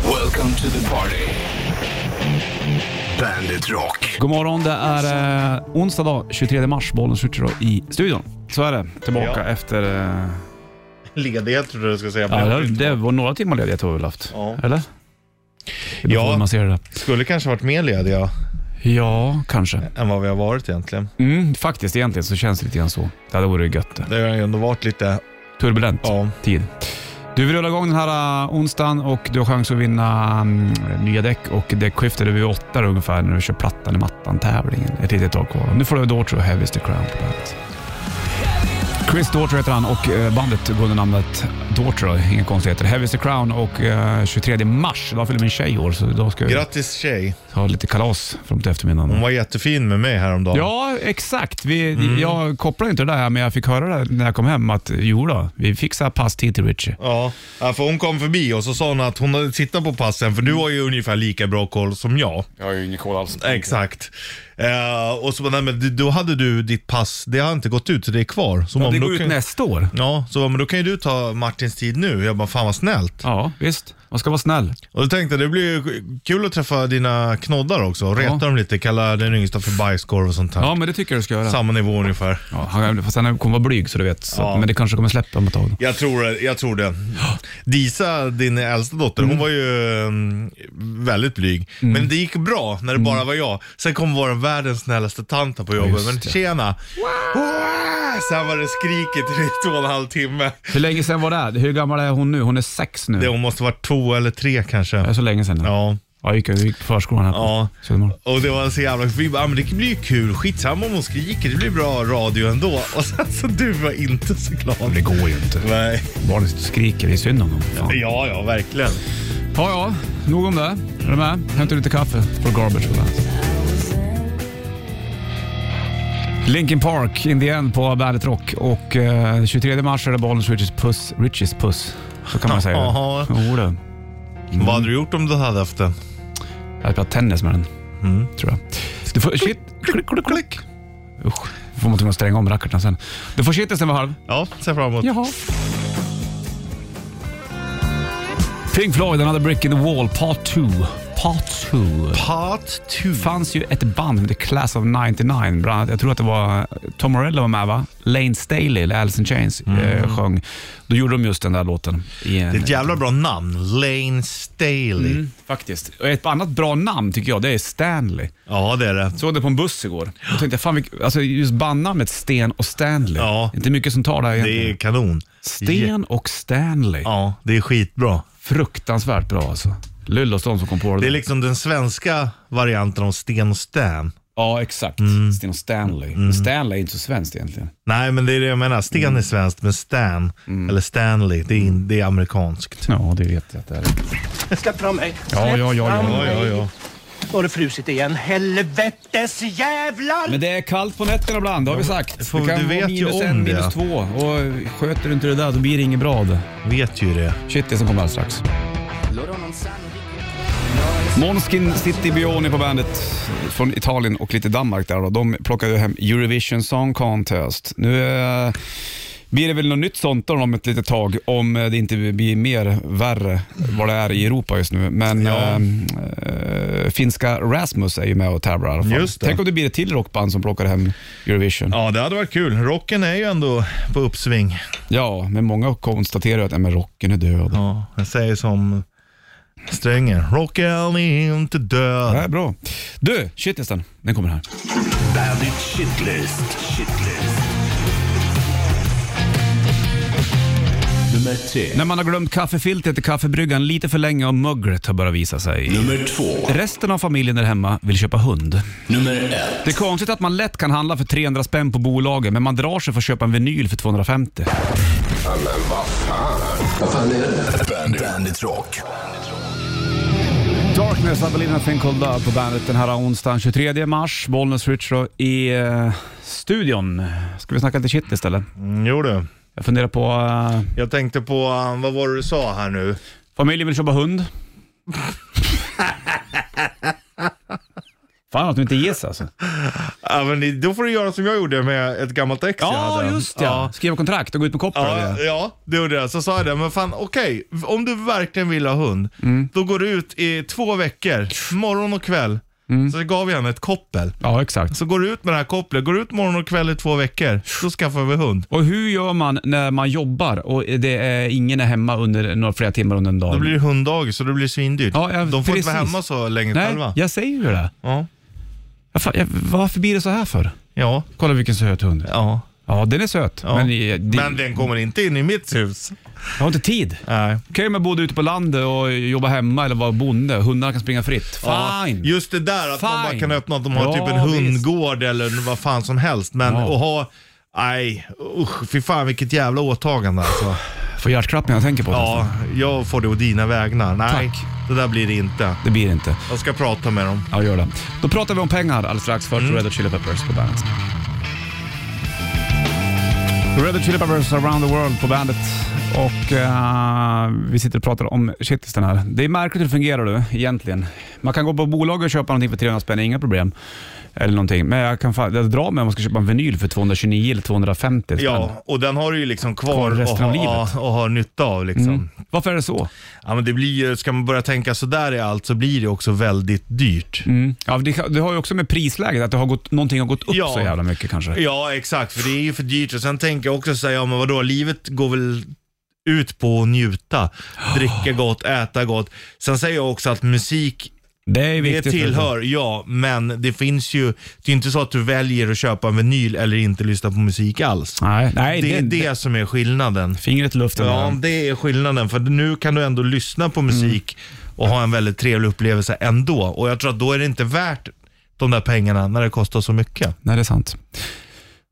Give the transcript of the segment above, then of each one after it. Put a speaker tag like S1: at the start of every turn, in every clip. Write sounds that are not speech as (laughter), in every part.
S1: Welcome to the party. Bandit Rock.
S2: God morgon, det är eh, onsdag dag, 23 mars, bollen switcher då i studion. Så är det, tillbaka
S3: Ja.
S2: efter... Eh,
S3: Ledighet trodde jag du skulle säga.
S2: ja,
S3: men jag
S2: det,
S3: har inte-
S2: det var några timmar ledighet har vi väl haft?
S3: Ja.
S2: Eller? Det beror på
S3: Ja.
S2: hur man ser det.
S3: Skulle kanske varit mer lediga
S2: Ja, kanske.
S3: än vad vi har varit egentligen.
S2: Mm, faktiskt, egentligen så känns det lite grann så. Det hade varit gött det.
S3: Det har ju ändå varit lite,
S2: Turbulent
S3: ja,
S2: tid. Du vill rulla igång den här eh, onsdagen och du har chans att vinna mm, nya däck och däckskiftet är vid åtta ungefär när du kör plattan i mattan-tävlingen. Ett litet tag kvar. Nu får du Daughtry och Heavy's the Crown på bandet. Chris Daughtry heter han och eh, bandet går under namnet Daughtry, då. inga konstigheter. Heavy's the Crown och eh, 23 mars, idag fyller min tjej år så idag ska jag
S3: grattis Mm. tjej.
S2: ha lite kalas framåt eftermiddagen.
S3: Hon var jättefin med mig häromdagen.
S2: Ja, exakt. Vi, Jag kopplade inte det där, men jag fick höra det när jag kom hem att jo då, vi fixar passtid till Richie.
S3: Ja, ja, för hon kom förbi och så sa hon att hon hade tittat på passen, för du har ju ungefär lika bra koll som jag.
S4: Jag har ju ingen koll alls.
S3: Exakt. Eh, och så, nej, men d- då hade du ditt pass, det har inte gått ut så det är kvar. Så om
S2: det
S3: då
S2: går ut
S3: kan,
S2: nästa år.
S3: Ja, så men då kan ju du ta Martins tid nu. Jag bara, fan vad snällt.
S2: Ja, visst. Man ska vara snäll.
S3: Och då tänkte jag, det blir ju kul att träffa dina knoddar också. Reta
S2: Ja.
S3: dem lite, kalla den yngsta för bajskorv och sånt här.
S2: Ja, men det tycker jag du ska göra.
S3: Samma nivå ungefär.
S2: Ja, han, fast han kommer vara blyg så du vet. Så,
S3: Ja.
S2: Men det kanske kommer släppa om ett tag.
S3: Jag tror, det- jag tror det. Disa, din äldsta dotter, hon var ju mm, väldigt blyg.
S2: Mm.
S3: Men det gick bra när det bara var jag. Sen kom vår världens snällaste tant här på jobbet.
S2: Just
S3: Men
S2: det.
S3: tjena! Wow! Sen var det skriket i två och en halv timme.
S2: Hur länge sedan var det? här? Hur gammal är hon nu? Hon är sex nu.
S3: Det,
S2: Det
S3: hon måste varit två eller tre kanske.
S2: är så länge sedan. nu.
S3: Ja.
S2: jag gick, jag gick på förskolan här på
S3: Ja.
S2: Södermalm.
S3: Och det var så jävla... Vi bara, "Ja, men det blir ju kul. Skitsamma om hon skriker, det blir bra radio ändå. (laughs) Och sen så du var inte så glad.
S2: Det går ju inte.
S3: Nej.
S2: Barnen skriker, det är synd om dem. Fan.
S3: Ja, ja, verkligen.
S2: Ja, ja. Nog om det. Är du med? Hämta lite kaffe för Garbage på bandet. Linkin Park, in the end på Bandet Rock. Och eh, 23 mars är det Bollnäs Riches Puss. Riches Puss. Så kan man säga.
S3: Jaha.
S2: Jo du. Mm.
S3: Vad hade du gjort om du hade haft den?
S2: Jag har spelat tennis med den. Tror jag. Du får, shit. Mm. Klick, klick, klick. Usch. Får man till och med stränga om rackarna sen. Du får shitisen vid halv.
S3: Ja, se fram emot.
S2: Jaha. Pink Floyd, Another Brick in the Wall, Part 2. Part 2.
S3: Part 2.
S2: fanns ju ett band som hette Class of 99. Bland annat, jag tror att det var Tom Morello var med va? Lane Staley, eller Alice in Chains, eh, sjöng. Då gjorde de just den där låten. I en,
S3: Det är ett jävla bra namn. Lane Staley.
S2: Mm, faktiskt. Och ett annat bra namn tycker jag, det är Stanley.
S3: Ja, det är det.
S2: Såg det på en buss igår. Jag tänkte, fan, vilk- alltså just bandnamnet Sten och Stanley.
S3: Ja.
S2: Inte mycket som tar det här
S3: Det
S2: egentligen.
S3: är kanon.
S2: Sten och Stanley.
S3: Ja, det är skitbra.
S2: Fruktansvärt bra alltså. Lullåsdom som kom på det.
S3: Det är liksom den svenska varianten av Sten och Stan.
S2: Ja, exakt. Sten och Stanley. Men Stanley är inte så svenskt egentligen.
S3: Nej, men det är det jag menar.
S2: Mm.
S3: Sten är svenskt, men Stan, eller Stanley, det är, in, det är amerikanskt.
S2: Ja, det vet jag att det är.
S5: Släpp fram mig.
S2: Ja, ja, ja, ja.
S5: Släpp fram mig.
S3: ja.
S5: Nu har det frusit igen. Helvetes jävlar!
S2: Men det är kallt på nätterna ibland, det har vi sagt.
S3: får- du vet ju
S2: minus
S3: om
S2: en,
S3: det.
S2: minus två. Och sköter du inte det där, då blir det inget bra. det.
S3: Vet ju det.
S2: Shit, det som kommer alldeles strax. Månskin City Bioni på bandet från Italien och lite Danmark där då. De plockade ju hem Eurovision Song Contest. Nu eh, blir det väl något nytt sånt då om ett litet tag om eh, det inte blir mer värre vad det är i Europa just nu. Men
S3: Ja.
S2: eh, eh, finska Rasmus är ju med och tävlar i alla fall.
S3: Just det.
S2: Tänk om det blir ett till rockband som plockar hem Eurovision. Ja,
S3: Ja, det hade varit kul. Rocken är ju ändå på uppsving.
S2: men många konstaterar ju att nej, men rocken är död.
S3: Ja, jag säger som Strängen. Rocken är inte
S2: Det
S3: död.
S2: här är bra. Du, shitlisten, den kommer här.
S1: Bandit Shitlist. Shitlist. Nummer tre.
S2: När man har glömt kaffefiltret i kaffebryggan lite för länge och möglet har börjat visa sig.
S1: Nummer två.
S2: Resten av familjen där hemma vill köpa hund.
S1: Nummer ett.
S2: Det är konstigt att man lätt kan handla för 300 spänn på bolaget, men man drar sig för att köpa en vinyl för 250.
S1: Vad fan är det? Bandit, Bandit Rock.
S2: Darkness, Avelina Thing Called Love på bandet den här onsdagen 23 mars. Bollnäs Ritchrow i eh, studion. Ska vi snacka lite shit istället?
S3: Mm, jo du.
S2: Jag funderar på... Eh,
S3: Jag tänkte på, eh, vad var det du sa här nu?
S2: familjen vill köpa (laughs) hund. Fan att du inte ges alltså.
S3: Ja, men ni- då får du göra som jag gjorde med ett gammalt ex jag
S2: Ja,
S3: hade.
S2: just det. Ja. Skriva kontrakt och gå ut med
S3: Ja,
S2: koppar. Ja.
S3: ja, det gjorde jag. Så sa jag det, men fan okej, om du verkligen vill ha hund, då går du ut i två veckor, morgon och kväll. Så gav jag henne ett koppel.
S2: ja, exakt.
S3: Så går du ut med det här kopplet, går du ut morgon och kväll i två veckor, då skaffar vi hund.
S2: Och hur gör man när man jobbar och det är, ingen är hemma under några flera timmar under en dag?
S3: Då blir det hunddagis så det blir svindyrt.
S2: Ja, ja,
S3: De får inte vara
S2: precis.
S3: hemma så länge
S2: Nej,
S3: själva.
S2: jag säger ju det.
S3: Ja.
S2: Jag, fa- jag, varför blir det så här för?
S3: Ja.
S2: Kolla vilken söt hund.
S3: Ja.
S2: Ja, den är söt.
S3: ja.
S2: Men, det,
S3: Men den kommer inte in i mitt hus.
S2: jag har inte tid.
S3: Nej.
S2: Okej om jag bodde ute på landet och jobbade hemma eller var bonde. Hundarna kan springa fritt.
S3: Ja,
S2: Fine.
S3: Just det där att man bara
S2: Fine.
S3: kan öppna att de har
S2: Ja,
S3: typ en hundgård eller vad fan som helst. Men
S2: Ja.
S3: att ha, nej, usch, fy fan vilket jävla åtagande alltså.
S2: Får hjärtklappning när jag tänker på det.
S3: Ja, jag får det å dina vägnar. Nej,
S2: Tack.
S3: det där blir det inte.
S2: Det blir inte.
S3: Jag ska prata med dem.
S2: Ja, gör det. Då pratar vi om pengar alldeles strax. Först
S3: Mm.
S2: Red Hot Chili Peppers på bandet. Red Hot Chili Peppers around the world på bandet. Och eh, vi sitter och pratar om shitlisten här. Det är märkligt hur det fungerar du egentligen. Man kan gå på bolag och köpa någonting för 300 spänn, inga problem. Eller någonting. Men jag kan fan, jag drar mig om man ska köpa en vinyl för 229 eller 250 spänn.
S3: Ja, och den har du ju liksom kvar,
S2: Kvar resten
S3: och, ha,
S2: av livet. Mm.
S3: ja, och har nytta av liksom.
S2: Varför är det så?
S3: Ja, men det blir ju, ska man börja tänka sådär i allt så blir det också väldigt dyrt.
S2: Mm. Ja, det, det har ju också med prisläget att det har gått, någonting har gått upp
S3: Ja.
S2: så jävla mycket kanske.
S3: Ja, exakt. För det är ju för dyrt. Och sen tänker jag också säga, ja men vadå, livet går väl ut på att njuta. Dricka
S2: (gasps)
S3: gott, äta gott. Sen säger jag också att musik,
S2: Det är
S3: det
S2: viktigt.
S3: tillhör, ja, men det finns ju, det är inte så att du väljer att köpa en vinyl eller inte lyssna på musik alls.
S2: Nej, nej
S3: Det är det som är skillnaden.
S2: Fingret i luften.
S3: Ja,
S2: där.
S3: det är skillnaden. För nu kan du ändå lyssna på musik och ha en väldigt trevlig upplevelse ändå. Och jag tror att då är det inte värt de där pengarna när det kostar så mycket.
S2: Nej, det är sant.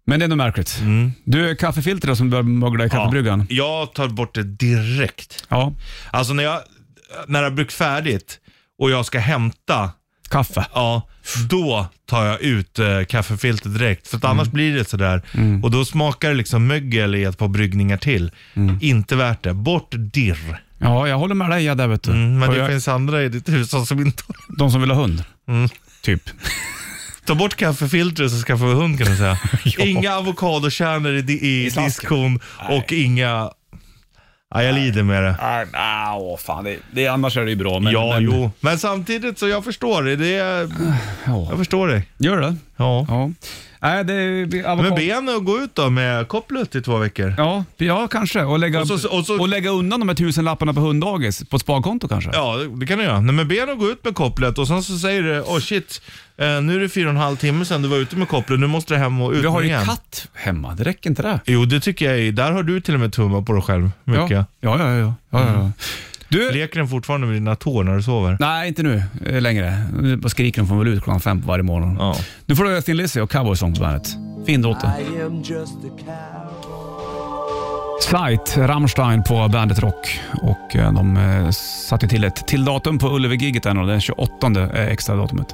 S2: Men det är ändå märkligt.
S3: Mm.
S2: Du, kaffefiltret som börjar mögla i kaffebryggan. Ja.
S3: Jag tar bort det direkt. Alltså när jag, när jag har brukt färdigt och jag ska hämta,
S2: kaffe.
S3: ja, då tar jag ut eh, kaffefiltret direkt. För att annars blir det sådär. Och då smakar det liksom mögel i ett par bryggningar till. Inte värt det. Bort dirr.
S2: Ja, jag håller med dig ja, där vet du.
S3: Mm, men
S2: Och
S3: det
S2: jag,
S3: finns andra i ditt hushåll som inte
S2: De som vill ha hund.
S3: Mm. (laughs)
S2: Typ.
S3: Ta bort kaffefiltret så skaffa vi hund kan du
S2: (laughs)
S3: säga. Inga avokadokärnor i, di- i
S2: slasken.
S3: diskon och inga... Ja, jag lider med det.
S2: Ah, åh, fan. Det, det, annars är det ju bra. Men,
S3: Ja,
S2: men,
S3: jo. Men samtidigt så jag förstår dig. Det är,
S2: Ja.
S3: jag förstår dig.
S2: Gör det?
S3: Ja.
S2: Ja. Nej, det är avokado.
S3: Men be henne att gå ut då med kopplet i två veckor.
S2: Ja, ja, kanske. Och lägga,
S3: Och så- och så-
S2: lägga undan de här tusenlapparna på hunddagis på ett sparkonto kanske.
S3: Ja, det kan du göra. Nej, men be henne att gå ut med kopplet och sen så säger du, åh oh, shit, eh, nu är det fyra och en halv timme sedan du var ute med kopplet, nu måste du hem och ut
S2: Vi har
S3: med
S2: ju
S3: igen.
S2: katt hemma, det räcker inte det?
S3: Jo, det tycker jag är, där har du till och med tummat på dig själv mycket. Mm.
S2: Ja, ja, ja. ja, ja, ja. Du,
S3: Leker den fortfarande med dina tår när du sover?
S2: Nej, inte nu eh, längre. Nu bara skriker de får väl ut klockan fem på varje morgon.
S3: Ja.
S2: Nu får du Östin Lizzy och Cowboysång på bandet. Fin låt det. Sight, Rammstein på Bandet Rock. Och eh, de eh, satte till ett till datum på Ullevi-giget där nu. den 28 är extra datumet.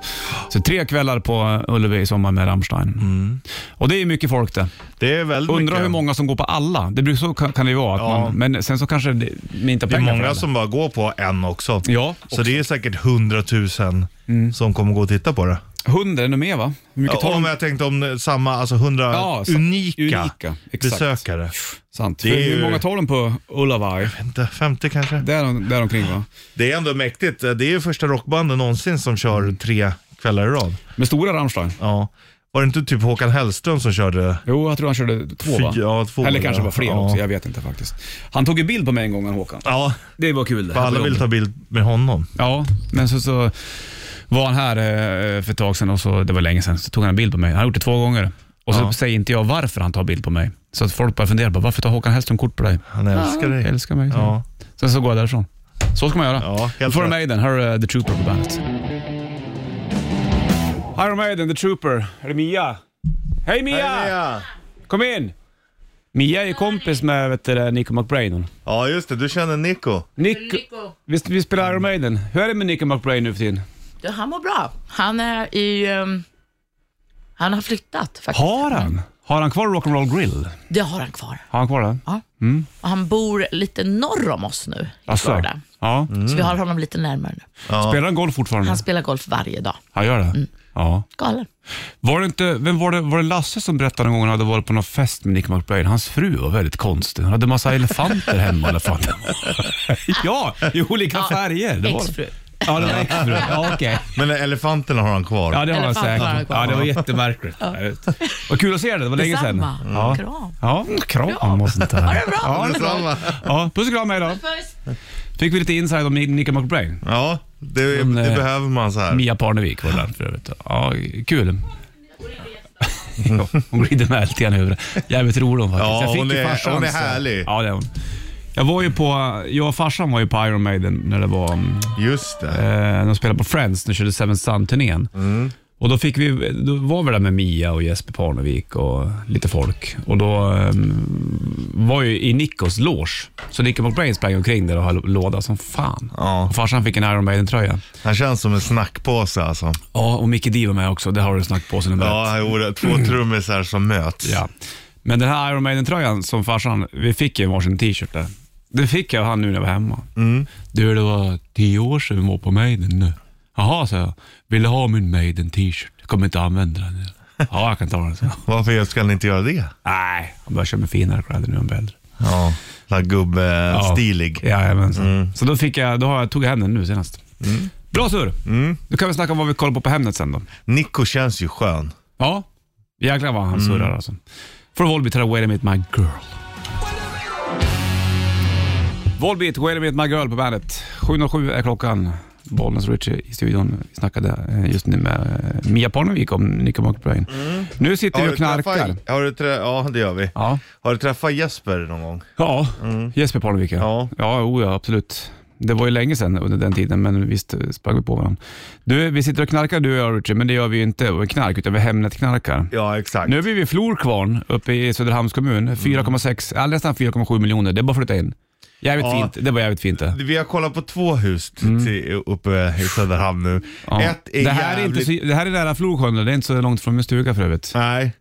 S2: Så tre kvällar på Ullevi i sommar med Rammstein. Och det är mycket folk det.
S3: Mm. Det är väldigt
S2: Undrar
S3: mycket.
S2: hur många som går på alla. Det blir så kan kan det ju vara. Att
S3: Ja.
S2: man, men sen så kanske det, man inte har
S3: Det är
S2: pengar för
S3: många
S2: alla.
S3: som bara går på en också.
S2: Ja, Mm.
S3: Så det är säkert hundratusen som kommer gå och titta på det.
S2: Hundra är nog med va? Hur mycket tar
S3: Om
S2: de?
S3: jag tänkte om samma, alltså hundra
S2: Ja, så-
S3: unika,
S2: unika, exakt.
S3: besökare.
S2: Sant.
S3: Det är
S2: Hur
S3: ju-
S2: många tar de på Ullavaj?
S3: Inte 50 kanske.
S2: Där, däromkring va?
S3: Det är ändå mäktigt. Det är ju första rockbandet någonsin som kör
S2: Mm.
S3: tre kvällar i rad.
S2: Med stora Rammstein?
S3: Ja. Var det inte typ Håkan Hellström som körde?
S2: Jo, jag tror han körde två va?
S3: Fy- ja, två,
S2: Eller
S3: ja.
S2: kanske var fler
S3: Ja.
S2: också, jag vet inte faktiskt. Han tog ju bild på mig en gång, han Håkan.
S3: Ja,
S2: Det var kul det.
S3: för alla vill ta bild med honom.
S2: Ja, men så, så var han här eh, för ett tag sedan och så, det var länge sedan, så tog han en bild på mig. Han har gjort det två gånger. Och så
S3: Ja.
S2: säger inte jag varför han tar bild på mig. Så att folk börjar fundera på varför tar Håkan Hellström kort på dig?
S3: Han älskar dig.
S2: Jag älskar mig.
S3: Ja.
S2: Sen så går jag därifrån. Så ska man göra.
S3: Ja, helt
S2: Då får du
S3: rätt.
S2: Maiden. Här är eh, The Trooper på bandet. Iron Maiden, The Trooper. Är det Mia? Hej Mia! Kom in! Mia är kompis med vet du, det, Nico McBrain. hon.
S3: Ja, just det. Du känner Nico.
S2: Nico, visst, vi spelar Iron Maiden. Hur är det med Nico McBrain nu för tiden?
S4: Du, han mår bra. Han är i... ehm, han har flyttat faktiskt.
S2: Har han? Har han kvar Rock'n'Roll Grill?
S4: Det har han kvar.
S2: Har han kvar det?
S4: Ja. Och han bor lite norr om oss nu i
S2: Asså?
S4: Florida.
S2: Ja.
S3: Mm.
S4: Så vi har honom lite närmare nu.
S2: Spelar han Mm. golf fortfarande?
S4: Han spelar golf varje dag.
S2: Han gör det? Ja.
S4: Galen.
S2: Var det inte, vem var det, var det Lasse som berättade någon gång han hade varit på någon fest med Nick McBrain? Hans fru var väldigt konstig. Hon hade massa elefanter hemma eller fan det var. (laughs) Ja, i olika färger. Det var-
S4: Exfru.
S2: Ja, det var exfru. Ja, okej.
S3: Men elefanterna har han kvar.
S2: Ja, det har han
S4: Elefanter har han
S2: säkert.
S4: kvar.
S2: Ja, det var jättemärkligt. Ja. jag vet. Vad kul att se dig, det var länge sedan.
S4: Detsamma.
S2: Ja.
S4: Kram.
S2: Ja, kram och sånt där.
S4: Ha det bra.
S2: Ja, det är bra.
S3: Samma.
S2: Ja, puss och kram, hej då. Fick vi lite inside om Nick McBrain.
S3: Ja, det,
S2: Men,
S3: det
S2: eh,
S3: behöver man så här.
S2: Mia Parnevik var det där för övrigt. Ja, kul. Ja, (laughs) hon glider med allt igen i huvudet. Jävligt rolig hon faktiskt.
S3: Mm. Ja,
S2: jag fick
S3: hon
S2: ju
S3: är-
S2: farsans-
S3: hon är härlig.
S2: Ja, det är hon. Jag var ju på, jag och farsan var ju på Iron Maiden när det var, mm,
S3: Just det.
S2: eh, när de spelade på Friends, när de körde Seven Sun-turnén.
S3: Mm.
S2: Och då, fick vi, då var vi där med Mia och Jesper Parnevik och lite folk. Och då eh, var ju i Nickos loge. Så Nico McBrain sprang omkring där och höll låda som fan.
S3: Ja.
S2: Och farsan fick en Iron Maiden-tröja.
S3: Han känns som en snackpåse alltså.
S2: Ja, och Mickey D var med också. Det har du snackat på sen
S3: Ja, han gjorde två trummisar som möts.
S2: Mm. Ja. Men den här Iron Maiden-tröjan som farsan, vi fick ju varsin t-shirt där. Det fick jag av han nu när jag var hemma. Du, det var tio år sedan vi var på Maiden nu. Jaha, sa jag. Vill du ha min Maiden-t-shirt? Jag kommer inte använda den. nu. Ja, jag kan ta den, så.
S3: Varför ska han inte göra det?
S2: Nej, han börjar köpa finare kläder nu än äldre.
S3: Ja, sån här gubbe-stilig.
S2: Ja, jajamensan. Så då, fick jag, då har jag, tog jag hem den nu senast. Bra sur! Nu kan vi snacka om vad vi kollar på på Hemnet sen då.
S3: Nico känns ju skön.
S2: Ja, jäklar vad han surrar alltså. Från Volbeat här, Wait a minute my girl. Volbeat, Wait a minute my girl på bandet. 7.07 är klockan. Bollnäs och Richie i studion. Vi snackade eh, just nu med eh, Mia Parnevik om Nico McBrain. Nu sitter vi och knarkar.
S3: Träffat, har du trä, ja, det gör vi.
S2: Ja,
S3: Har du träffat Jesper någon gång?
S2: ja. Jesper Parnevik ja.
S3: Ja.
S2: Ja, oh, ja, absolut. Det var ju länge sedan under den tiden, men visst eh, sprang vi på varandra. Du, vi sitter och knarkar du och jag Richie, men det gör vi ju inte och knark, utan vi Hemnet-knarkar.
S3: Ja, exakt. Mm.
S2: Nu blir vi Florkvarn uppe i Söderhamns kommun. 4,6, ja, nästan 4,7 miljoner. Det är bara att flytta in. Jävligt
S3: Ja.
S2: fint. Det var jävligt fint det.
S3: Vi har kollat på två hus till, uppe i Söderhamn nu.
S2: Mm. Ja.
S3: Ett är
S2: det, här
S3: jävligt...
S2: är inte så, det här är nära Florsjön, det är inte så långt från min stuga för övrigt.
S3: Nej.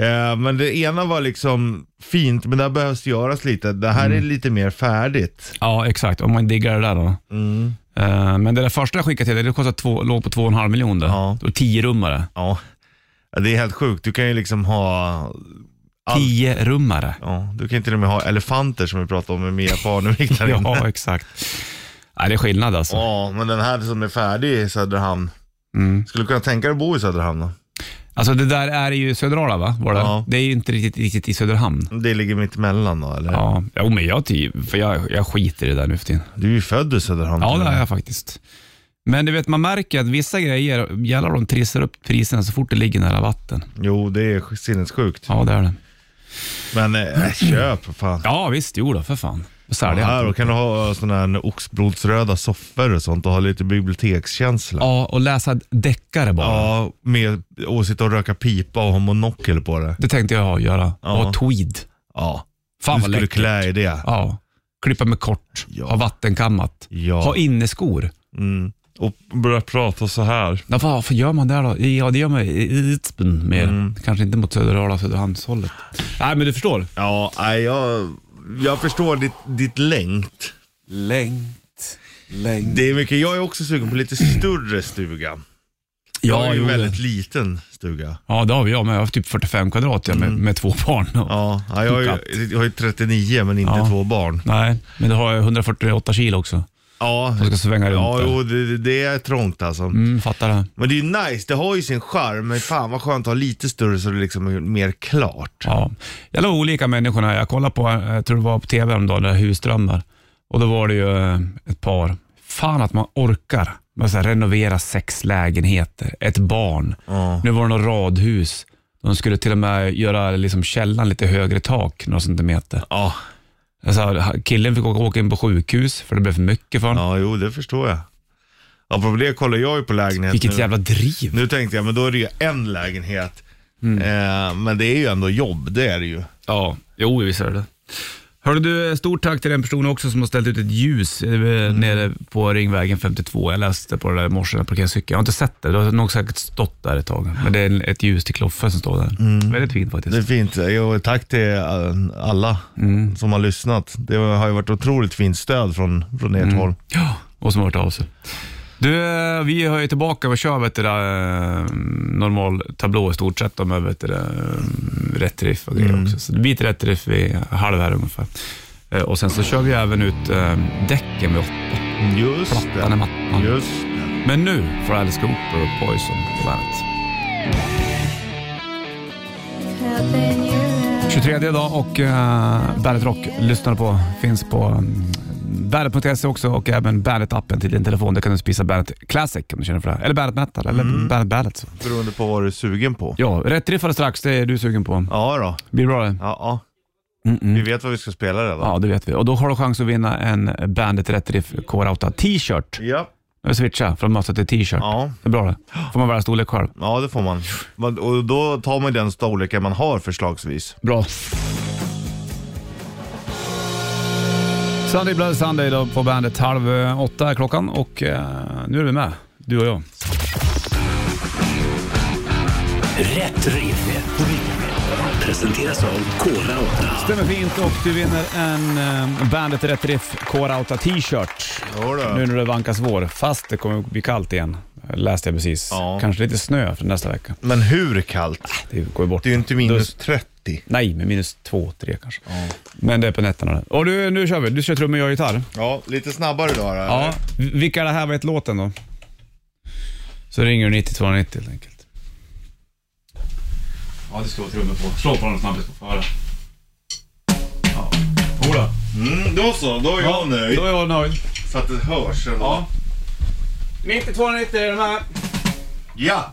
S3: Eh, men det ena var liksom fint, men där behövs göras lite. Det här
S2: Mm.
S3: är lite mer färdigt.
S2: Ja, exakt. Om man diggar det där då.
S3: Mm.
S2: Eh, men det där första jag skickade till dig, det kostade två, låg på 2,5 miljoner.
S3: Ja.
S2: Och tio rummare.
S3: Ja. Det är helt sjukt. Du kan ju liksom ha... Allt.
S2: Tio rummare.
S3: Ja, du kan ju till och med ha elefanter som vi pratade om med Mia Parnevik där inne.
S2: (laughs) Ja, exakt. Ja, det är skillnad alltså.
S3: Ja, men den här som är färdig i Söderhamn.
S2: Mm.
S3: Skulle du kunna tänka dig att bo i Söderhamn då?
S2: Alltså det där är ju Söderala va? Var det?
S3: Ja.
S2: det är ju inte riktigt, riktigt i Söderhamn.
S3: Det ligger mitt emellan då eller?
S2: Ja, jo, men jag, ty- för jag, jag skiter i det där nu för tiden.
S3: Du är ju född i Söderhamn.
S2: Ja,
S3: till
S2: det
S3: och
S2: har
S3: med.
S2: jag faktiskt. Men du vet, man märker att vissa grejer, jävlar de trissar upp priserna så fort det ligger nära vatten.
S3: Jo, det är sinnessjukt.
S2: Ja, det är det.
S3: Men eh, köp för fan.
S2: Ja, visst. Jo då, för fan. Och Sälj
S3: här
S2: allt.
S3: då kan du ha sådana här oxblodsröda soffor och sånt och ha lite bibliotekskänsla.
S2: Ja, och läsa deckare bara.
S3: Ja, med och sitta och röka pipa och ha monokel på det.
S2: Det tänkte jag göra.
S3: Ja.
S2: Och tweed.
S3: Ja,
S2: Fan
S3: du
S2: vad
S3: skulle
S2: läckert.
S3: klä i det.
S2: Ja. Klippa med kort.
S3: Ja.
S2: Ha vattenkammat.
S3: Ja.
S2: Ha inneskor.
S3: Mm. Och börja prata så här.
S2: Ja, vad varför gör man det då? Ja, det gör man i- i Itspen mer. Kanske inte mot Söderala, Söderhamnshållet. Mm. Nej, men du förstår.
S3: Ja, nej, jag, jag förstår ditt, ditt längt.
S2: Längt. Längt.
S3: Det är mycket, jag är också sugen på lite större stuga. Jag
S2: Ja,
S3: har ju
S2: jo.
S3: en väldigt liten stuga.
S2: Ja, det har vi. Jag med. Jag har typ 45 kvadrat jag, med, med två barn. Och,
S3: Ja, ja, jag, har ju, jag har ju 39 men inte
S2: Ja.
S3: två barn.
S2: Nej, men då har jag 148 kilo också.
S3: Ja,
S2: Jag ska svänga runt
S3: ja
S2: där.
S3: jo, det, det är trångt alltså.
S2: Mm, fattar det.
S3: Men det är ju nice, det har ju sin charm. Men fan vad skönt att ha lite större så det liksom är mer klart.
S2: Ja. Jag låg olika människorna. Jag kollade på, eh, jag tror det var på tv häromdagen, det här husdrömmar. Och då var det ju eh, ett par. Fan att man orkar. Man så här, renovera sex lägenheter, ett barn.
S3: Ja.
S2: Nu var det något radhus. De skulle till och med göra liksom källaren lite högre tak, några centimeter.
S3: Ja,
S2: Alltså, killen fick åka, åka in på sjukhus för det blev för mycket för honom.
S3: ja jo det förstår jag. Apropå det kollar jag ju på lägenhet
S2: Vilket
S3: nu.
S2: jävla driv.
S3: Nu tänkte jag, men då är det ju en
S2: Mm.
S3: lägenhet. Eh, men det är ju ändå jobb, det är det ju.
S2: Ja, jo visst är det det. Hörru du, stort tack till den personen också som har ställt ut ett ljus eh, nere på Ringvägen 52. Jag läste på det där i morse på en cykel. Jag har inte sett det, det har nog säkert stått där ett tag. Men det är ett ljus till Kloffe som står där. Väldigt fint
S3: Det är
S2: faktiskt.
S3: fint. Jo, tack till eh, alla
S2: Mm.
S3: som har lyssnat. Det har ju varit otroligt fint stöd från, från ert
S2: Mm.
S3: håll.
S2: Ja, och som har hört av sig. Du, eh, vi är ju tillbaka och kör vet du, där, eh, normal tablå i stort sett då, med vet du, där, eh, rätt riff och grejer också. Så det blir ett rätt riff vid halv här ungefär. Eh, Och sen så kör vi även ut eh, däcken vid åtta.
S3: Just
S2: Plattan i mattan.
S3: Just det.
S2: Men nu får Alice Cooper och Poison på bandet. 23 dag och uh, Bandet Rock lyssnar på. Finns på mm, bandet.se också och även Bandet-appen till din telefon. Där kan du spisa Bandet Classic om du känner för det. Eller Bandet Metal eller Bandet Bandet. Så.
S3: Beroende på vad du är sugen på.
S2: Ja, rätt riffade strax. Det är du sugen på.
S3: Ja då.
S2: Blir det bra det?
S3: Ja, ja. Vi vet vad vi ska spela redan.
S2: Ja, det vet vi. Och då har du chans att vinna en Bandet Rätt Riff Core Outa T-shirt.
S3: Ja.
S2: Nu switcha från mössa till T-shirt.
S3: Ja.
S2: Det är bra det. Får man välja storlek själv.
S3: ja, det får man. Men- Och då tar man den storleken man har förslagsvis.
S2: Bra. Sunday Blood Sunday då på bandet. Halv eh, åtta är klockan och eh, nu är vi med, du och jag.
S1: Rätt riff. Rätt riff. Presenteras av Kora 8.
S2: Stämmer fint och du vinner en eh, Bandet Rätt Riff Core Outa T-shirt.
S3: Jodå.
S2: Nu när det vankas vår, fast det kommer bli kallt igen. Läste jag precis.
S3: Ja.
S2: Kanske lite snö för nästa vecka.
S3: Men hur kallt?
S2: Det går ju bort.
S3: Det är ju inte minus 30.
S2: Nej, men minus två, tre kanske. Men det är på nätterna. Och du, nu kör vi. Du kör trummor, jag gitarr.
S3: Ja, lite snabbare då. eller?
S2: Ja, v- vilka är det här? Vad heter låten då? Så ringer du 9290 helt enkelt. Ja, det ska vara trummor på. Slå på den snabbt så får höra. Ja. Jodå.
S3: Mm, då så, då är jag nöjd.
S2: Då är jag nöjd.
S3: Så att det hörs. eller?
S2: Ja. 9290 är de här.
S3: ja.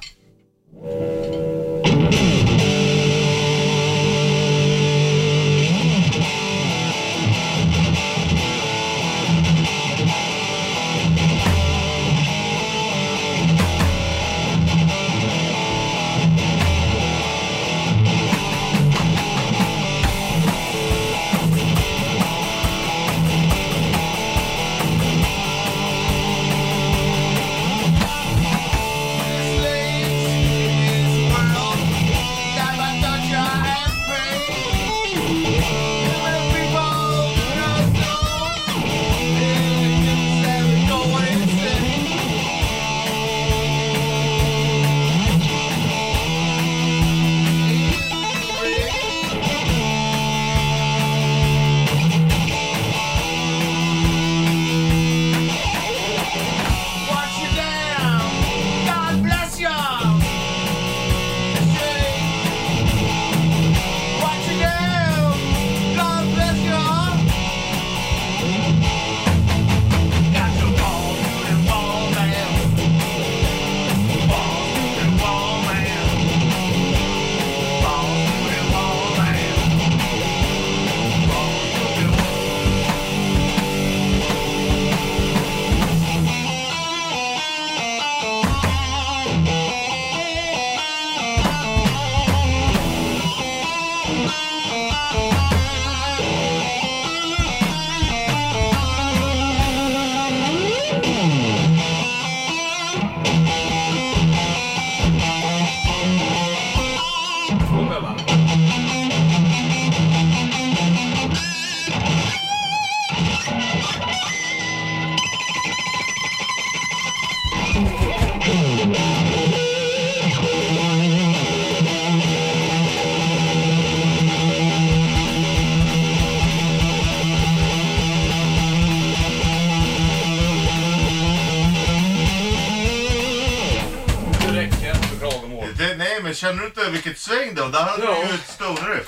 S3: Det- Nej, men känner du inte vilket sväng det var? Där hade
S2: Ja.
S3: du ju ett stoneriff.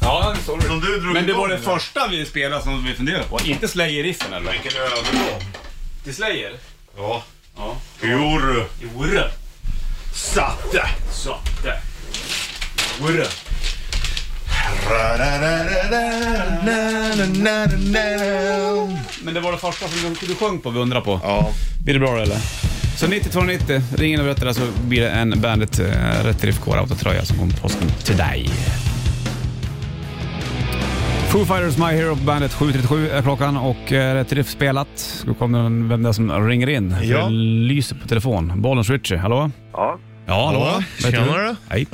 S2: Ja, det såg
S3: Som du drog
S2: Men det var
S3: igång
S2: det
S3: med.
S2: första vi spelade som vi funderade på. Inte Slayer-riffen eller?
S3: Vilken övergång.
S2: Till Slayer?
S3: Ja.
S2: Ja.
S3: Jodå.
S2: Jodå.
S3: Satte.
S2: Så, där. Jodå. Men det var det första som du- du sjöng på, vi undrar på.
S3: Ja.
S2: Blir det bra då, eller? Så 9290, ring in och berätta så blir det en Bandet eh, Rätt Riff Core Autotröja som kommer på påsken till dig. Foo Fighters My Hero på bandet. 7.37 är klockan och eh, rätt riff spelat. Då kommer den- vem det är som ringer in.
S3: Ja.
S2: Det lyser på telefon. Bollens Richie, hallå?
S6: Ja,
S2: Ja,
S3: Hallå,
S2: Vet
S3: tjena
S2: du?
S3: du?
S2: Hej.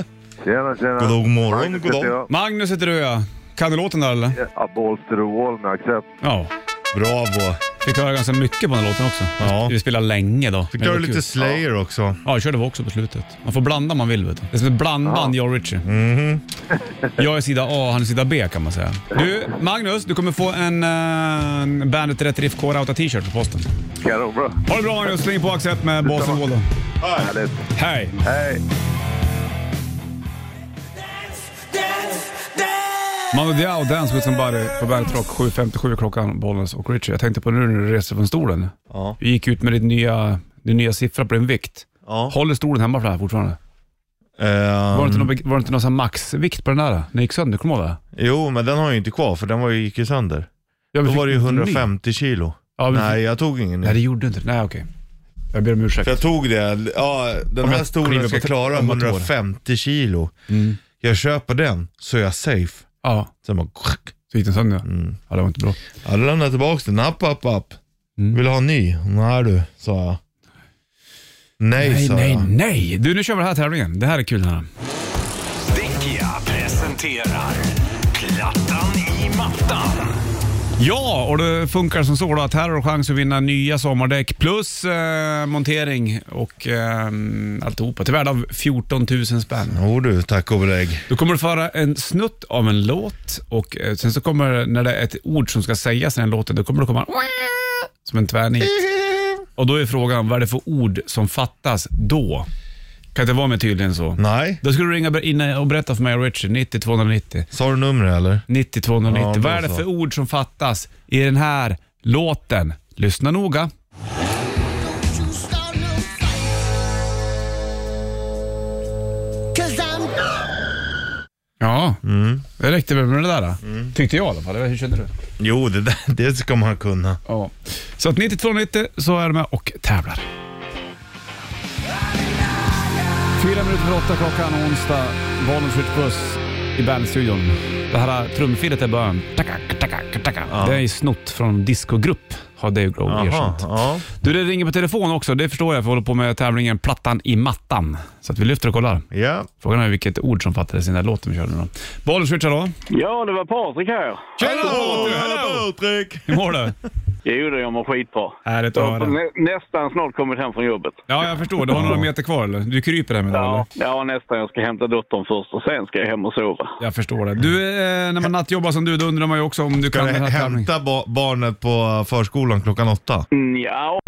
S6: tjena tjena.
S3: God morgon, god dag.
S6: heter jag.
S2: Magnus heter du ja. Kan du låten där eller?
S6: Ja, Balls to the wall med accept.
S2: Ja.
S3: Bravo.
S2: Fick höra ganska mycket på den här låten också.
S3: Ja.
S2: Vi spelade länge då.
S3: Fick
S2: Men det
S3: du
S2: var
S3: lite
S2: kul.
S3: Slayer också?
S2: Ja, jag körde också på slutet. Man får blanda om man vill. Vet du. Det är som ett blandband, jag och Richie. jag är sida A, han är sida B kan man säga. Du, Magnus, du kommer få en uh, Bandet Rätt Riff Core Outa t-shirt på posten.
S6: Kanonbra.
S2: Ha det bra Magnus, släng på Accept med Basen Wall då.
S6: Härligt.
S2: Hej!
S6: Hej.
S2: Mando Diao, Dance with somebody på Bandet Rock 7.57 klockan, Bollnäs och Richie. Jag tänkte på nu när du reser från stolen.
S3: Ja.
S2: Du gick ut med din nya, din nya siffra på din vikt.
S3: Ja. Eh,
S2: Håller stolen hemma för det här fortfarande? Var det inte
S3: Mm.
S2: någon, var det inte någon sån här maxvikt på den där? Den gick sönder, kommer du ihåg det?
S3: Jo, men den har jag ju inte kvar för den var ju, gick ju sönder.
S2: Ja, vi
S3: Då
S2: fick
S3: var det ju
S2: en ny.
S3: 150 kilo.
S2: Ja, vi
S3: Nej, jag tog ingen
S2: Nej,
S3: ny.
S2: det gjorde inte det. Nej, okej. Jag ber om ursäkt.
S3: För jag tog det, ja den
S2: Om
S3: här
S2: jag kliver
S3: stolen ska
S2: på-
S3: klara
S2: om Mm. ett år.
S3: 150 kilo. Jag köper den så är jag safe.
S2: Ja,
S3: Sen bara...
S2: så gick den sönder.
S3: Mm.
S2: Ja, det var inte bra.
S3: Ja, då lämnade jag tillbaka den. App, app, app.
S2: Mm.
S3: Vill du ha en ny? Nej du, sa jag. Nej,
S2: Nej,
S3: sa
S2: nej,
S3: jag.
S2: nej! Du, nu kör vi den här tävlingen. Det här är kul den här.
S1: Dickia presenterar Plattan i mattan.
S2: Ja, och det funkar som så då att här har du chans att vinna nya sommardäck plus eh, montering och eh, alltihopa. Till värde av 14 000 spänn.
S3: Jo du, tack och belägg.
S2: Då kommer du få höra en snutt av en låt och eh, sen så kommer, när det är ett ord som ska sägas i den låten, då kommer det komma som en tvärnit. Och då är frågan, vad är det för ord som fattas då? Kan inte vara mer tydligen så.
S3: Nej,
S2: Då ska du ringa in och berätta för mig och Richard, 90 290.
S3: sa du numret eller?
S2: 90 290.
S3: Ja, då
S2: vad är det
S3: så.
S2: för ord som fattas i den här låten? Lyssna noga. Ja, det räckte väl med det där. då? Tyckte jag i alla fall. Eller Hur kände du?
S3: Jo, det, där, det ska man kunna.
S2: Ja. Så att 90 290 så är du med och tävlar. Fyra minuter för åtta klockan onsdag. Valens Puss i bandstudion. Det här trumfilet i början. Takak, takak, takak. Det är ju snott från discogrupp, har Dave Grohl
S3: Jaha,
S2: erkänt.
S3: ja.
S2: Du, det ringer på telefon också. Det förstår jag, för vi håller på med tävlingen Plattan i mattan. Så att vi lyfter och kollar.
S3: ja.
S2: Frågan är vilket ord som fattades i den där låten vi körde nu då. Valens Richard då?
S7: Ja, det var Patrik här.
S2: Tjena Patrik!
S3: Patrik!
S2: Hur mår du?
S7: Jo, det jag mår skitbra.
S2: Härligt att höra.
S7: Nä, nästan snart kommit hem från jobbet.
S2: Ja, jag förstår. Du har några meter kvar eller? Du kryper där med det eller?
S7: Ja, ja, nästan. Jag ska hämta dottern först och sen ska jag hem och sova.
S2: Jag förstår det. Du, eh, när man nattjobbar som du, då undrar man ju också om du
S3: Ska
S2: kan
S3: du
S2: den här tävlingen.
S3: hämta ba- barnet på förskolan klockan åtta?
S7: Mm, Ja,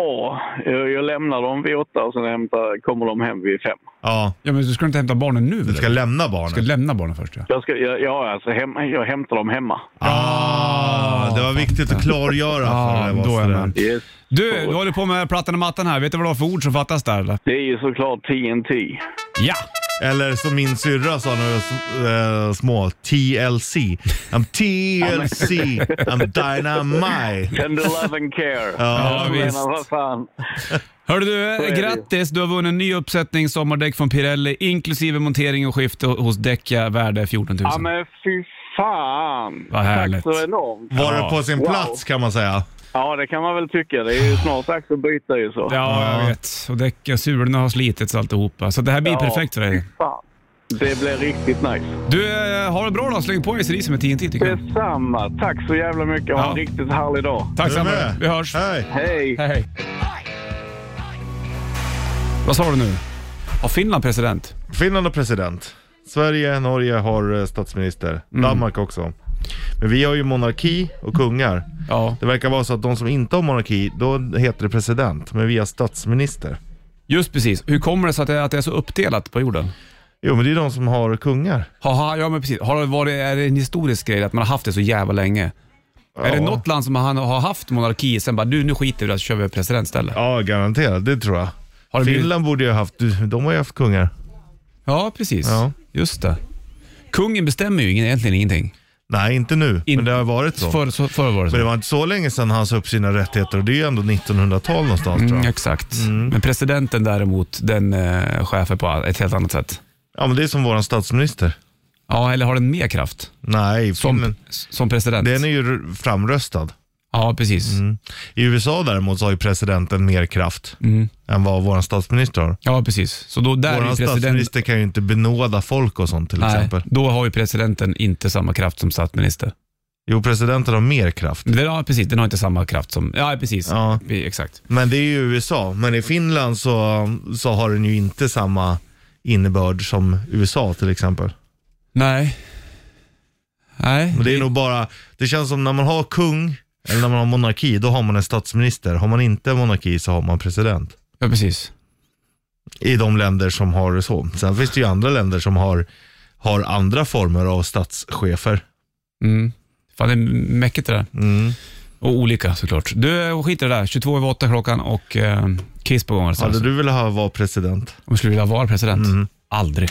S7: jag, jag lämnar dem vid åtta och sen hämtar, kommer de hem vid fem.
S3: Ja,
S2: Ja, men du ska inte hämta barnen nu
S3: du ska
S2: eller?
S3: lämna
S2: Du
S3: barnet.
S2: ska lämna barnen först ja.
S7: Jag, ska, jag, ja, alltså, hem, jag hämtar dem hemma.
S3: Ah, det var viktigt att klargöra för det
S2: Ja,
S3: var
S2: då är
S3: sådär.
S2: man.
S7: Yes.
S2: Du, du håller på med plattan och mattan här. Vet du vad det var för ord som fattas där eller?
S7: Det är ju såklart TNT.
S2: Ja!
S3: Eller som min syrra sa när vi var s- eh, små, TLC. I'm TLC, I'm dynamite.
S7: And the love and
S2: (laughs)
S7: care.
S3: Ja,
S7: Jag menar,
S2: visst.
S7: vad fan.
S2: Hörru du,
S7: är
S2: eh,
S7: det ju.
S2: grattis! Du har vunnit en ny uppsättning sommardäck från Pirelli inklusive montering och skifte hos Däcka värde 14 000.
S7: Ja, men fy fan.
S2: Vad härligt.
S7: Tack så enormt.
S3: Var det på sin
S7: Wow.
S3: plats kan man säga.
S7: Ja, det kan man väl tycka. Det är ju snart dags att byta ju så.
S2: Ja, jag vet. Och däcken, sulorna har slitits alltihopa. Så det här blir
S7: Ja.
S2: perfekt för dig.
S7: Fan. Det blev riktigt nice.
S2: Du, eh, har det bra då. Släng på ACDC med TNT tycker
S7: Typ.
S2: jag.
S7: Detsamma. Tack så jävla mycket. Ha en
S2: Ja.
S7: riktigt härlig dag.
S2: Tack
S3: Är du
S2: så
S3: med?
S2: mycket. Vi hörs.
S3: Hej!
S7: Hej!
S2: Hej. Vad sa du nu? Har Finland president?
S3: Finland har president. Sverige, Norge har eh, statsminister.
S2: Mm.
S3: Danmark också. Men vi har ju monarki och kungar.
S2: Ja.
S3: Det verkar vara så att de som inte har monarki, då heter det president. Men vi har statsminister.
S2: Just precis. Hur kommer det sig att det, att det är så uppdelat på jorden?
S3: Jo, men det är de som har kungar.
S2: Haha, ja men precis. Har det varit, är det en historisk grej att man har haft det så jävla länge? Är det något land som har, har haft monarki sen bara du nu skiter vi i det här så kör vi president istället?
S3: Ja, garanterat. Det tror jag.
S2: Har det blivit-
S3: Finland borde ju ha haft, du, de har ju haft kungar.
S2: Ja, precis.
S3: Ja.
S2: Just det. Kungen bestämmer ju ingen- egentligen ingenting.
S3: Nej, inte nu,
S2: In-
S3: men det har varit så.
S2: Förr så- förr var det så.
S3: Men det var inte så länge sedan han sa upp sina rättigheter och det är ju ändå 1900-tal någonstans tror
S2: Mm,
S3: jag.
S2: exakt. Men presidenten däremot, den eh, chefen på ett helt annat sätt.
S3: Ja, men det är som våran statsminister.
S2: Ja, eller har den mer kraft?
S3: Nej,
S2: Som,
S3: filmen,
S2: som president?
S3: den är Mm. ju framröstad.
S2: Ja, precis.
S3: I USA däremot så har ju presidenten mer kraft än vad vår statsminister har.
S2: Ja, precis. Så då Mm. där är
S3: Vår
S2: ju president...
S3: statsminister kan ju inte benåda folk och sånt till
S2: Nej,
S3: exempel.
S2: då har ju presidenten inte samma kraft som statsminister.
S3: Jo, presidenten har mer kraft.
S2: Men Den, ja, precis. Den har inte samma kraft som... Ja, precis.
S3: Ja.
S2: Vi- Exakt.
S3: Men det är ju USA. Men i Finland så, så har den ju inte samma innebörd som USA till exempel.
S2: Nej. Nej.
S3: Men det är nog bara, det känns som när man har kung eller när man har monarki, då har man en statsminister. Har man inte monarki så har man president.
S2: Ja, precis.
S3: I de länder som har det så. Sen finns det ju andra länder som har, har andra former av statschefer.
S2: Mm. Fan, det är mäckigt det där.
S3: Mm.
S2: Och olika såklart. Du, skit i det där. 22 över 8 klockan och eh, Kiss på gång. alltså.
S3: Hade du velat ha vara president?
S2: Om jag skulle vilja vara president? Aldrig.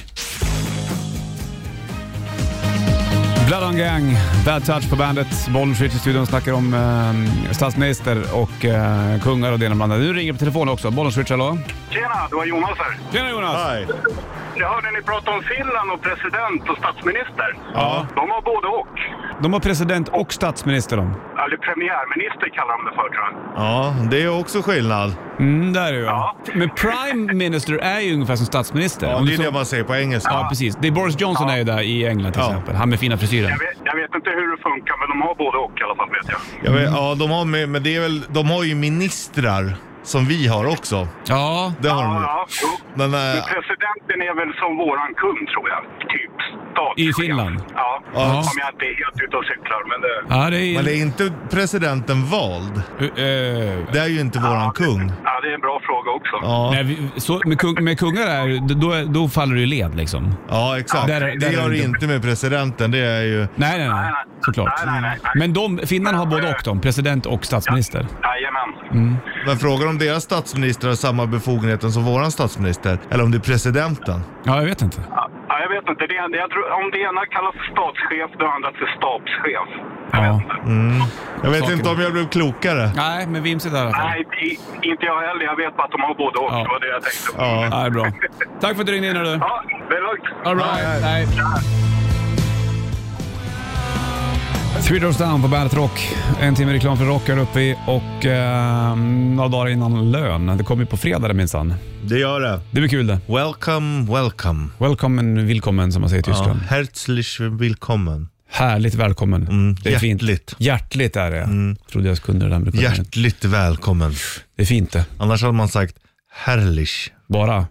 S2: Blood on Gang, Bad Touch på bandet. Bollfritt i studion snackar om eh, statsminister och eh, kungar och det ena med det andra. Du ringer på telefon också. Bollfritt, hallå?
S8: Tjena, det var Jonas här.
S2: Tjena Jonas!
S3: Nej.
S8: Jag hörde ni prata om Finland och president och statsminister.
S3: Ja.
S8: De har både och.
S2: De har president och statsminister de.
S8: Eller premiärminister kallar de det för tror jag.
S3: Ja, det är också skillnad.
S2: Mm, där är jag.
S8: Ja.
S2: Men Prime Minister är ju ungefär som statsminister.
S3: Ja,
S2: Om
S3: det
S2: du
S3: är
S2: så-
S3: det man säger på engelska.
S2: Ja, precis. Det är Boris Johnson är ju där i England till
S3: Ja.
S2: exempel. Han med fina frisyren.
S8: Jag vet, jag vet inte hur det funkar men de har både och i alla fall vet jag.
S3: Jag vet, ja, de har, med, men det är väl, de har ju ministrar som vi har också.
S2: Ja,
S3: Det har de
S8: Ja,
S3: ju.
S8: ja. jo.
S3: Men, eh,
S8: Men presidenten är väl som våran kung tror jag. Typ statschef.
S2: I Finland?
S8: Ja,
S3: Ja.
S8: om jag inte är helt ute och cyklar. Men det...
S2: ja det är...
S3: men det är inte presidenten vald.
S2: Eh,
S3: Det är ju inte våran kung.
S8: Ja, det är en bra fråga också.
S3: Ja,
S2: Nej, vi, så, med, kung, med kungar är, då, är- då faller du i led liksom.
S3: ja exakt.
S2: Där- där
S3: det
S2: är
S3: gör
S2: det
S3: det
S2: inte.
S3: inte med presidenten. Det är ju...
S2: Nej, nej, nej.
S8: Nej, nej.
S2: Såklart.
S8: Nej, nej, nej, nej.
S2: Men de, finnarna har både och de. President och statsminister.
S8: Jajamän.
S2: Mm.
S3: Men frågan om deras statsminister har samma befogenheter som våran statsminister. Eller om det är presidenten.
S2: Ja, jag vet inte.
S8: Ja, jag vet inte. Det, ena- jag tror, om det ena kallas för statschef, det andra för stabschef. Jag
S2: Ja.
S8: vet inte.
S3: Jag vet
S2: Saker.
S3: inte om jag blev klokare.
S2: Nej, men vimsigt i alla fall.
S8: Nej, i- inte jag heller. Jag vet bara att de har både och.
S2: Ja.
S8: Det var det jag tänkte på.
S3: Ja.
S2: Ja, det är bra. Tack för att du ringde in hörru.
S8: Ja, det är lugnt.
S2: All right. Nej. Three Doors Down på Bandet Rock. En timme reklam för rock är uppe i och eh, några dagar innan lön. Det kommer ju på fredag det minsann.
S3: Det gör det.
S2: Det blir kul det.
S3: Welcome, welcome.
S2: Välkommen, willkommen som man säger i
S3: Ja.
S2: Tyskland.
S3: Herzlich willkommen.
S2: Härligt välkommen. det är
S3: Mm. hjärtligt. Mm.
S2: fint. Hjärtligt är det. Trodde jag kunde det där med det.
S3: Hjärtligt välkommen.
S2: Det är fint det.
S3: Annars hade man sagt herrlich.
S2: Bara.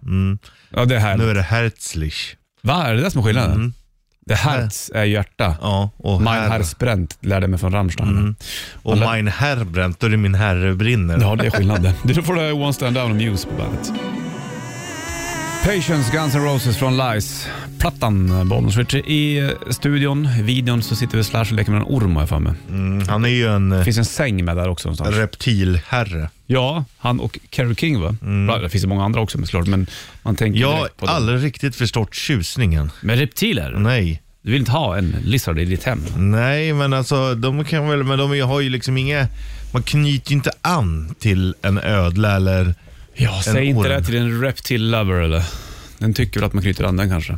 S2: Ja, det är härligt.
S3: Mm. Nu är det herzlich.
S2: Va, är det det som är skillnaden? Det Herz är hjärta.
S3: Ja, Mm. och
S2: Mein
S3: herr.
S2: Herz brennt lärde mig från Rammstein.
S3: Och mein herr bränt, då är det min herre brinner.
S2: Ja, det är skillnaden. (laughs) Du då får du One Stand Down och Muse på bandet. Patience, Guns N' Roses från Lies. Plattan, Bollnäs i eh, studion. I videon så sitter vi slash och leker med en orm har jag för mig.
S3: Mm, Han är ju en eh,
S2: Det finns en säng med där också någonstans.
S3: reptilherre.
S2: Ja, han och Carole King va? Bra, Det finns ju många andra också men såklart, men man tänker
S3: Jag har
S2: direkt på dem.
S3: aldrig riktigt förstått tjusningen.
S2: Men reptiler?
S3: Nej.
S2: Du vill inte ha en lizard i ditt hem?
S3: Nej, men alltså de kan väl, men de har ju liksom inga, man knyter ju inte an till en ödla eller,
S2: Ja, säg inte
S3: orm.
S2: det till en reptil lover eller? Den tycker väl att man knyter an den kanske?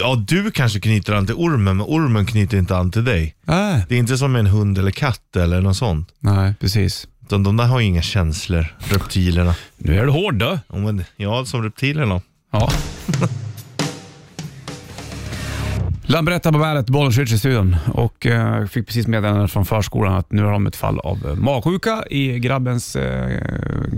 S3: ja du kanske knyter an till ormen, men ormen knyter inte an till dig.
S2: Nej.
S3: Det är inte som en hund eller katt eller något sånt.
S2: Nej, precis.
S3: Utan de där har ju inga känslor, reptilerna.
S2: Nu är du hård då.
S3: Ja, men, ja som reptilerna.
S2: Ja. (laughs) Lambretta på bandet, Bollenskytt i studion och eh, fick precis meddelande från förskolan att nu har de ett fall av eh, magsjuka i grabbens eh,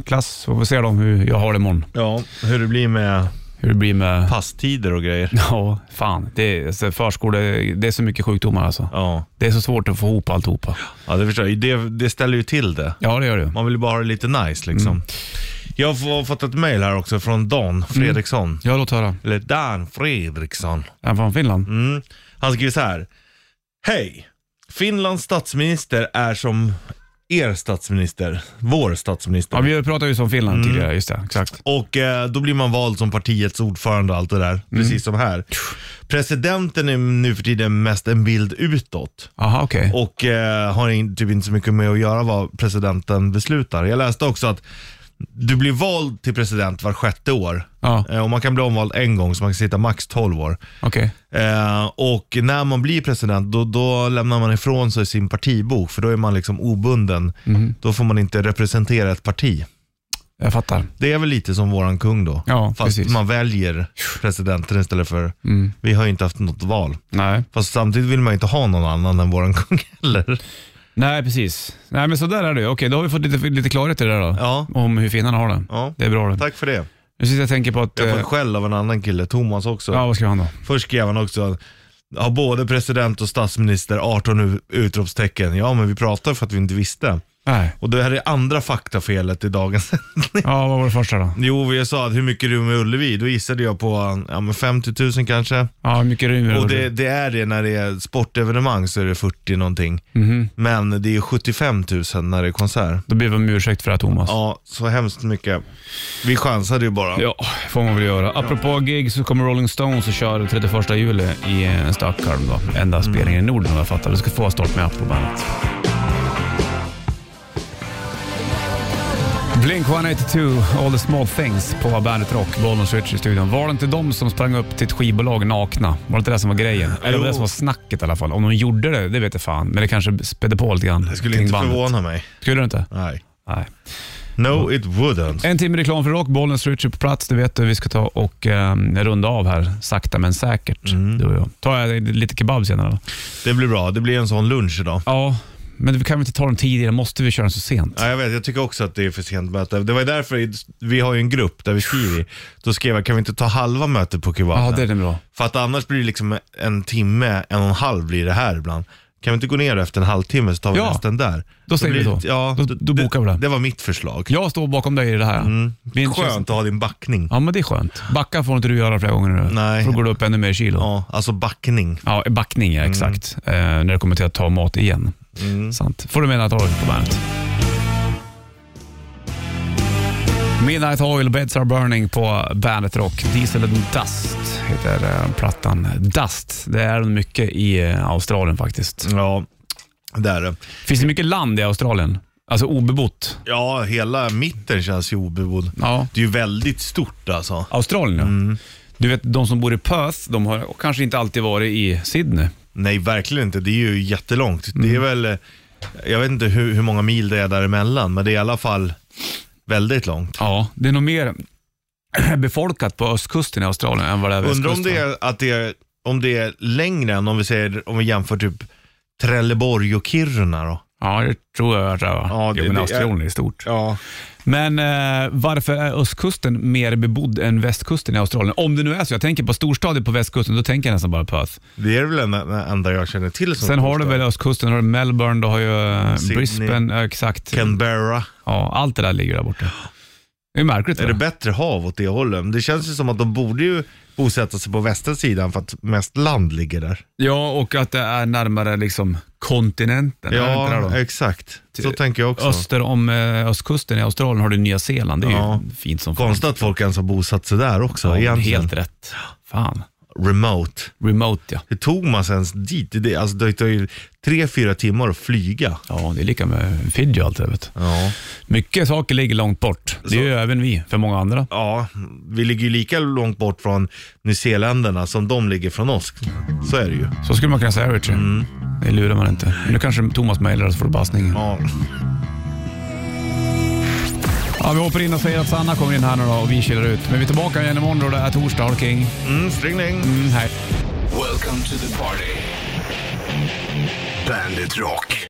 S2: klass. Och vi ser de hur jag har det imorgon.
S3: Ja, hur det blir med
S2: Hur det blir med...
S3: passtider och grejer.
S2: Ja, fan. Det är, alltså, förskola, det är så mycket sjukdomar alltså.
S3: Ja,
S2: Det är så svårt att få ihop alltihopa.
S3: ja det förstår jag. Det, det ställer ju till det.
S2: Ja, det gör det.
S3: Man vill ju bara ha det lite nice liksom. Jag har fått ett mail här också från Dan Fredriksson.
S2: Ja, låt höra.
S3: Eller Dan Fredriksson.
S2: Är han från Finland?
S3: Mm. Han skriver så här. Hej! Finlands statsminister är som er statsminister. Vår statsminister.
S2: Ja, vi pratade ju om Finland
S3: Mm.
S2: tidigare. Just det, exakt.
S3: Och eh, då blir man vald som partiets ordförande och allt det där.
S2: Mm.
S3: Precis som här. Presidenten är nu för tiden mest en bild utåt
S2: Aha, okej.
S3: och eh, har in, typ inte så mycket med att göra vad presidenten beslutar. Jag läste också att du blir vald till president var sjätte år.
S2: Ja.
S3: Eh, Och man kan bli omvald en gång, så man kan sitta max 12 år.
S2: Okej.
S3: Eh, och när man blir president, då, då lämnar man ifrån sig sin partibok, för då är man liksom obunden.
S2: Mhm.
S3: Då får man inte representera ett parti.
S2: Jag fattar.
S3: Det är väl lite som våran kung då.
S2: Ja,
S3: Fast
S2: precis. Mm.
S3: man väljer presidenten istället för, vi har ju inte haft något val.
S2: Nej.
S3: Fast samtidigt vill man ju inte ha någon annan än våran (laughs) kung heller.
S2: Nej, precis. Nej, men så där är det ju. Okej, då har vi fått lite, lite klarhet i det där då.
S3: Ja.
S2: Om hur finnarna har det.
S3: Ja.
S2: Det är bra det.
S3: Tack för det.
S2: Nu sitter jag och tänker på att...
S3: Jag har
S2: eh,
S3: fått skäll av en annan kille, Thomas också.
S2: ja, vad ska han då?
S3: Först skrev han också, har både president och statsminister 18 u- utropstecken. Ja, men vi pratar för att vi inte visste.
S2: Nej.
S3: Och det här är andra faktafelet i dagens (laughs)
S2: Ja, vad var det första då?
S3: Jo, vi sa att hur mycket rum är Ullevi? Då gissade jag på ja, men 50 000 kanske.
S2: Ja, hur mycket rymmer
S3: Och det, det är det när det är sportevenemang så är det 40 någonting.
S2: Mhm.
S3: Men det är 75 000 när det är konsert.
S2: Då ber vi om ursäkt för det här, Thomas.
S3: Ja, så hemskt mycket. Vi chansade ju bara.
S2: Ja, får man väl göra. Apropå gig så kommer Rolling Stones och kör 31 juli i eh, Stockholm. Då. Enda
S3: Mm.
S2: spelningen i Norden om jag fattar Du ska få start med på bandet. Blink 182, All the small things på Bandet Rock, Bollnäs Switch i studion. Var det inte de som sprang upp till ett skivbolag nakna? Var det inte det som var grejen? Eller var det det som var snacket i alla fall? Om de gjorde det, det vet jag fan. Men det kanske spädde på lite grann.
S3: Det skulle inte förvåna mig.
S2: Skulle det inte?
S3: Nej.
S2: Nej.
S3: No, it wouldn't.
S2: En timme reklam för rock, Bollnäs Richard på plats. Det vet du, vi ska ta och eh, runda av här sakta men säkert. Du och jag. Tar jag lite kebab senare då?
S3: Det blir bra. Det blir en sån lunch idag.
S2: Ja, men vi kan väl inte ta den tidigare? Måste vi köra den så sent?
S3: Ja, jag vet, jag tycker också att det är för sent möte. Det var ju därför i- vi har ju en grupp där vi skriver. i. Då skrev jag, kan vi inte ta halva mötet på
S2: Ja,
S3: kubanen?
S2: det är den bra.
S3: För att annars blir det liksom en timme, en och en halv blir det här ibland. Kan vi inte gå ner efter en halvtimme så tar vi
S2: Ja.
S3: resten där?
S2: Då säger vi
S3: blir
S2: så.
S3: det- Ja,
S2: Då- då bokar vi det.
S3: Det var mitt förslag.
S2: Jag står bakom dig i det här. Det är inte
S3: Skönt att ha din backning.
S2: Ja, men det är skönt. Backa får inte du göra flera gånger nu.
S3: Nej.
S2: För då går du upp ännu mer kilo. Ja.
S3: Ja, alltså backning.
S2: backning ja, exakt. Eh, när det kommer till att ta mat igen. Sant. Får du med Night Oil på bandet. Midnight Oil, Beds Are Burning på Bandet Rock. Diesel and Dust heter eh, plattan. Dust, det är mycket i eh, Australien faktiskt.
S3: Ja, där är det.
S2: Finns det mycket land i Australien? Alltså obebott?
S3: Ja, hela mitten känns ju obebodd.
S2: Ja.
S3: Det är ju väldigt stort alltså.
S2: Australien ja. Du vet, de som bor i Perth, de har kanske inte alltid varit i Sydney.
S3: Nej, verkligen inte. Det är ju jättelångt.
S2: Mm.
S3: Det är väl, eh, jag vet inte hur, hur många mil det är däremellan, men det är i alla fall väldigt långt.
S2: Ja, det är nog mer (clears throat) befolkat på östkusten i Australien än vad det är
S3: Undrar om
S2: västkusten.
S3: det är, att det är, om det är längre än om vi, säger, om vi jämför typ Trelleborg och Kiruna då?
S2: Ja, det tror jag att det är. va?
S3: Ja, det-
S2: jo, men
S3: det är-
S2: Australien är stort.
S3: Ja.
S2: Men eh, varför är östkusten mer bebodd än västkusten i Australien? Om det nu är så. Jag tänker på storstäder på västkusten, då tänker jag nästan bara Perth.
S3: Det är väl den den enda jag känner till som
S2: Sen har du
S3: storstad.
S2: väl östkusten, har du Melbourne, du har ju eh,
S3: Sydney.
S2: Brisbane, ja, exakt.
S3: Canberra.
S2: Ja, allt det där ligger där borta. Det är märkligt.
S3: Är
S2: va?
S3: det bättre hav åt det hållet? Det känns ju som att de borde ju bosätta sig på västra sidan för att mest land ligger där.
S2: ja, och att det är närmare liksom kontinenten. Är det inte det då?
S3: Ja, exakt. Så tänker jag också.
S2: Öster om eh, östkusten i Australien har du Nya Zeeland. Det är
S3: Ja.
S2: ju fint som fan.
S3: Konstigt att folk ens har bosatt sig där också.
S2: Ja,
S3: egentligen.
S2: helt rätt. Fan.
S3: Remote.
S2: Remote ja.
S3: Hur tog man sig ens dit? Det, alltså, det tar ju tre, fyra timmar att flyga.
S2: Ja, det är lika med Fidji och allt det där, vet. du.
S3: Ja.
S2: Mycket saker ligger långt bort. Det gör ju även vi för många andra.
S3: ja, vi ligger ju lika långt bort från nyzeeländarna som de ligger från oss. Så är det ju.
S2: Så skulle man kunna säga Richard. Det lurar man inte. Men Nu kanske Thomas mejlar oss får du bassningen. Ja.
S3: Mm. Ja. (laughs)
S2: vi hoppar in och säger att Sanna kommer in här nu då och vi kilar ut. Men vi är tillbaka igen imorgon då det är torsdag. Ha det king.
S3: Mm, stringling.
S2: Mm, hej.
S1: Welcome to the party. Bandit Rock.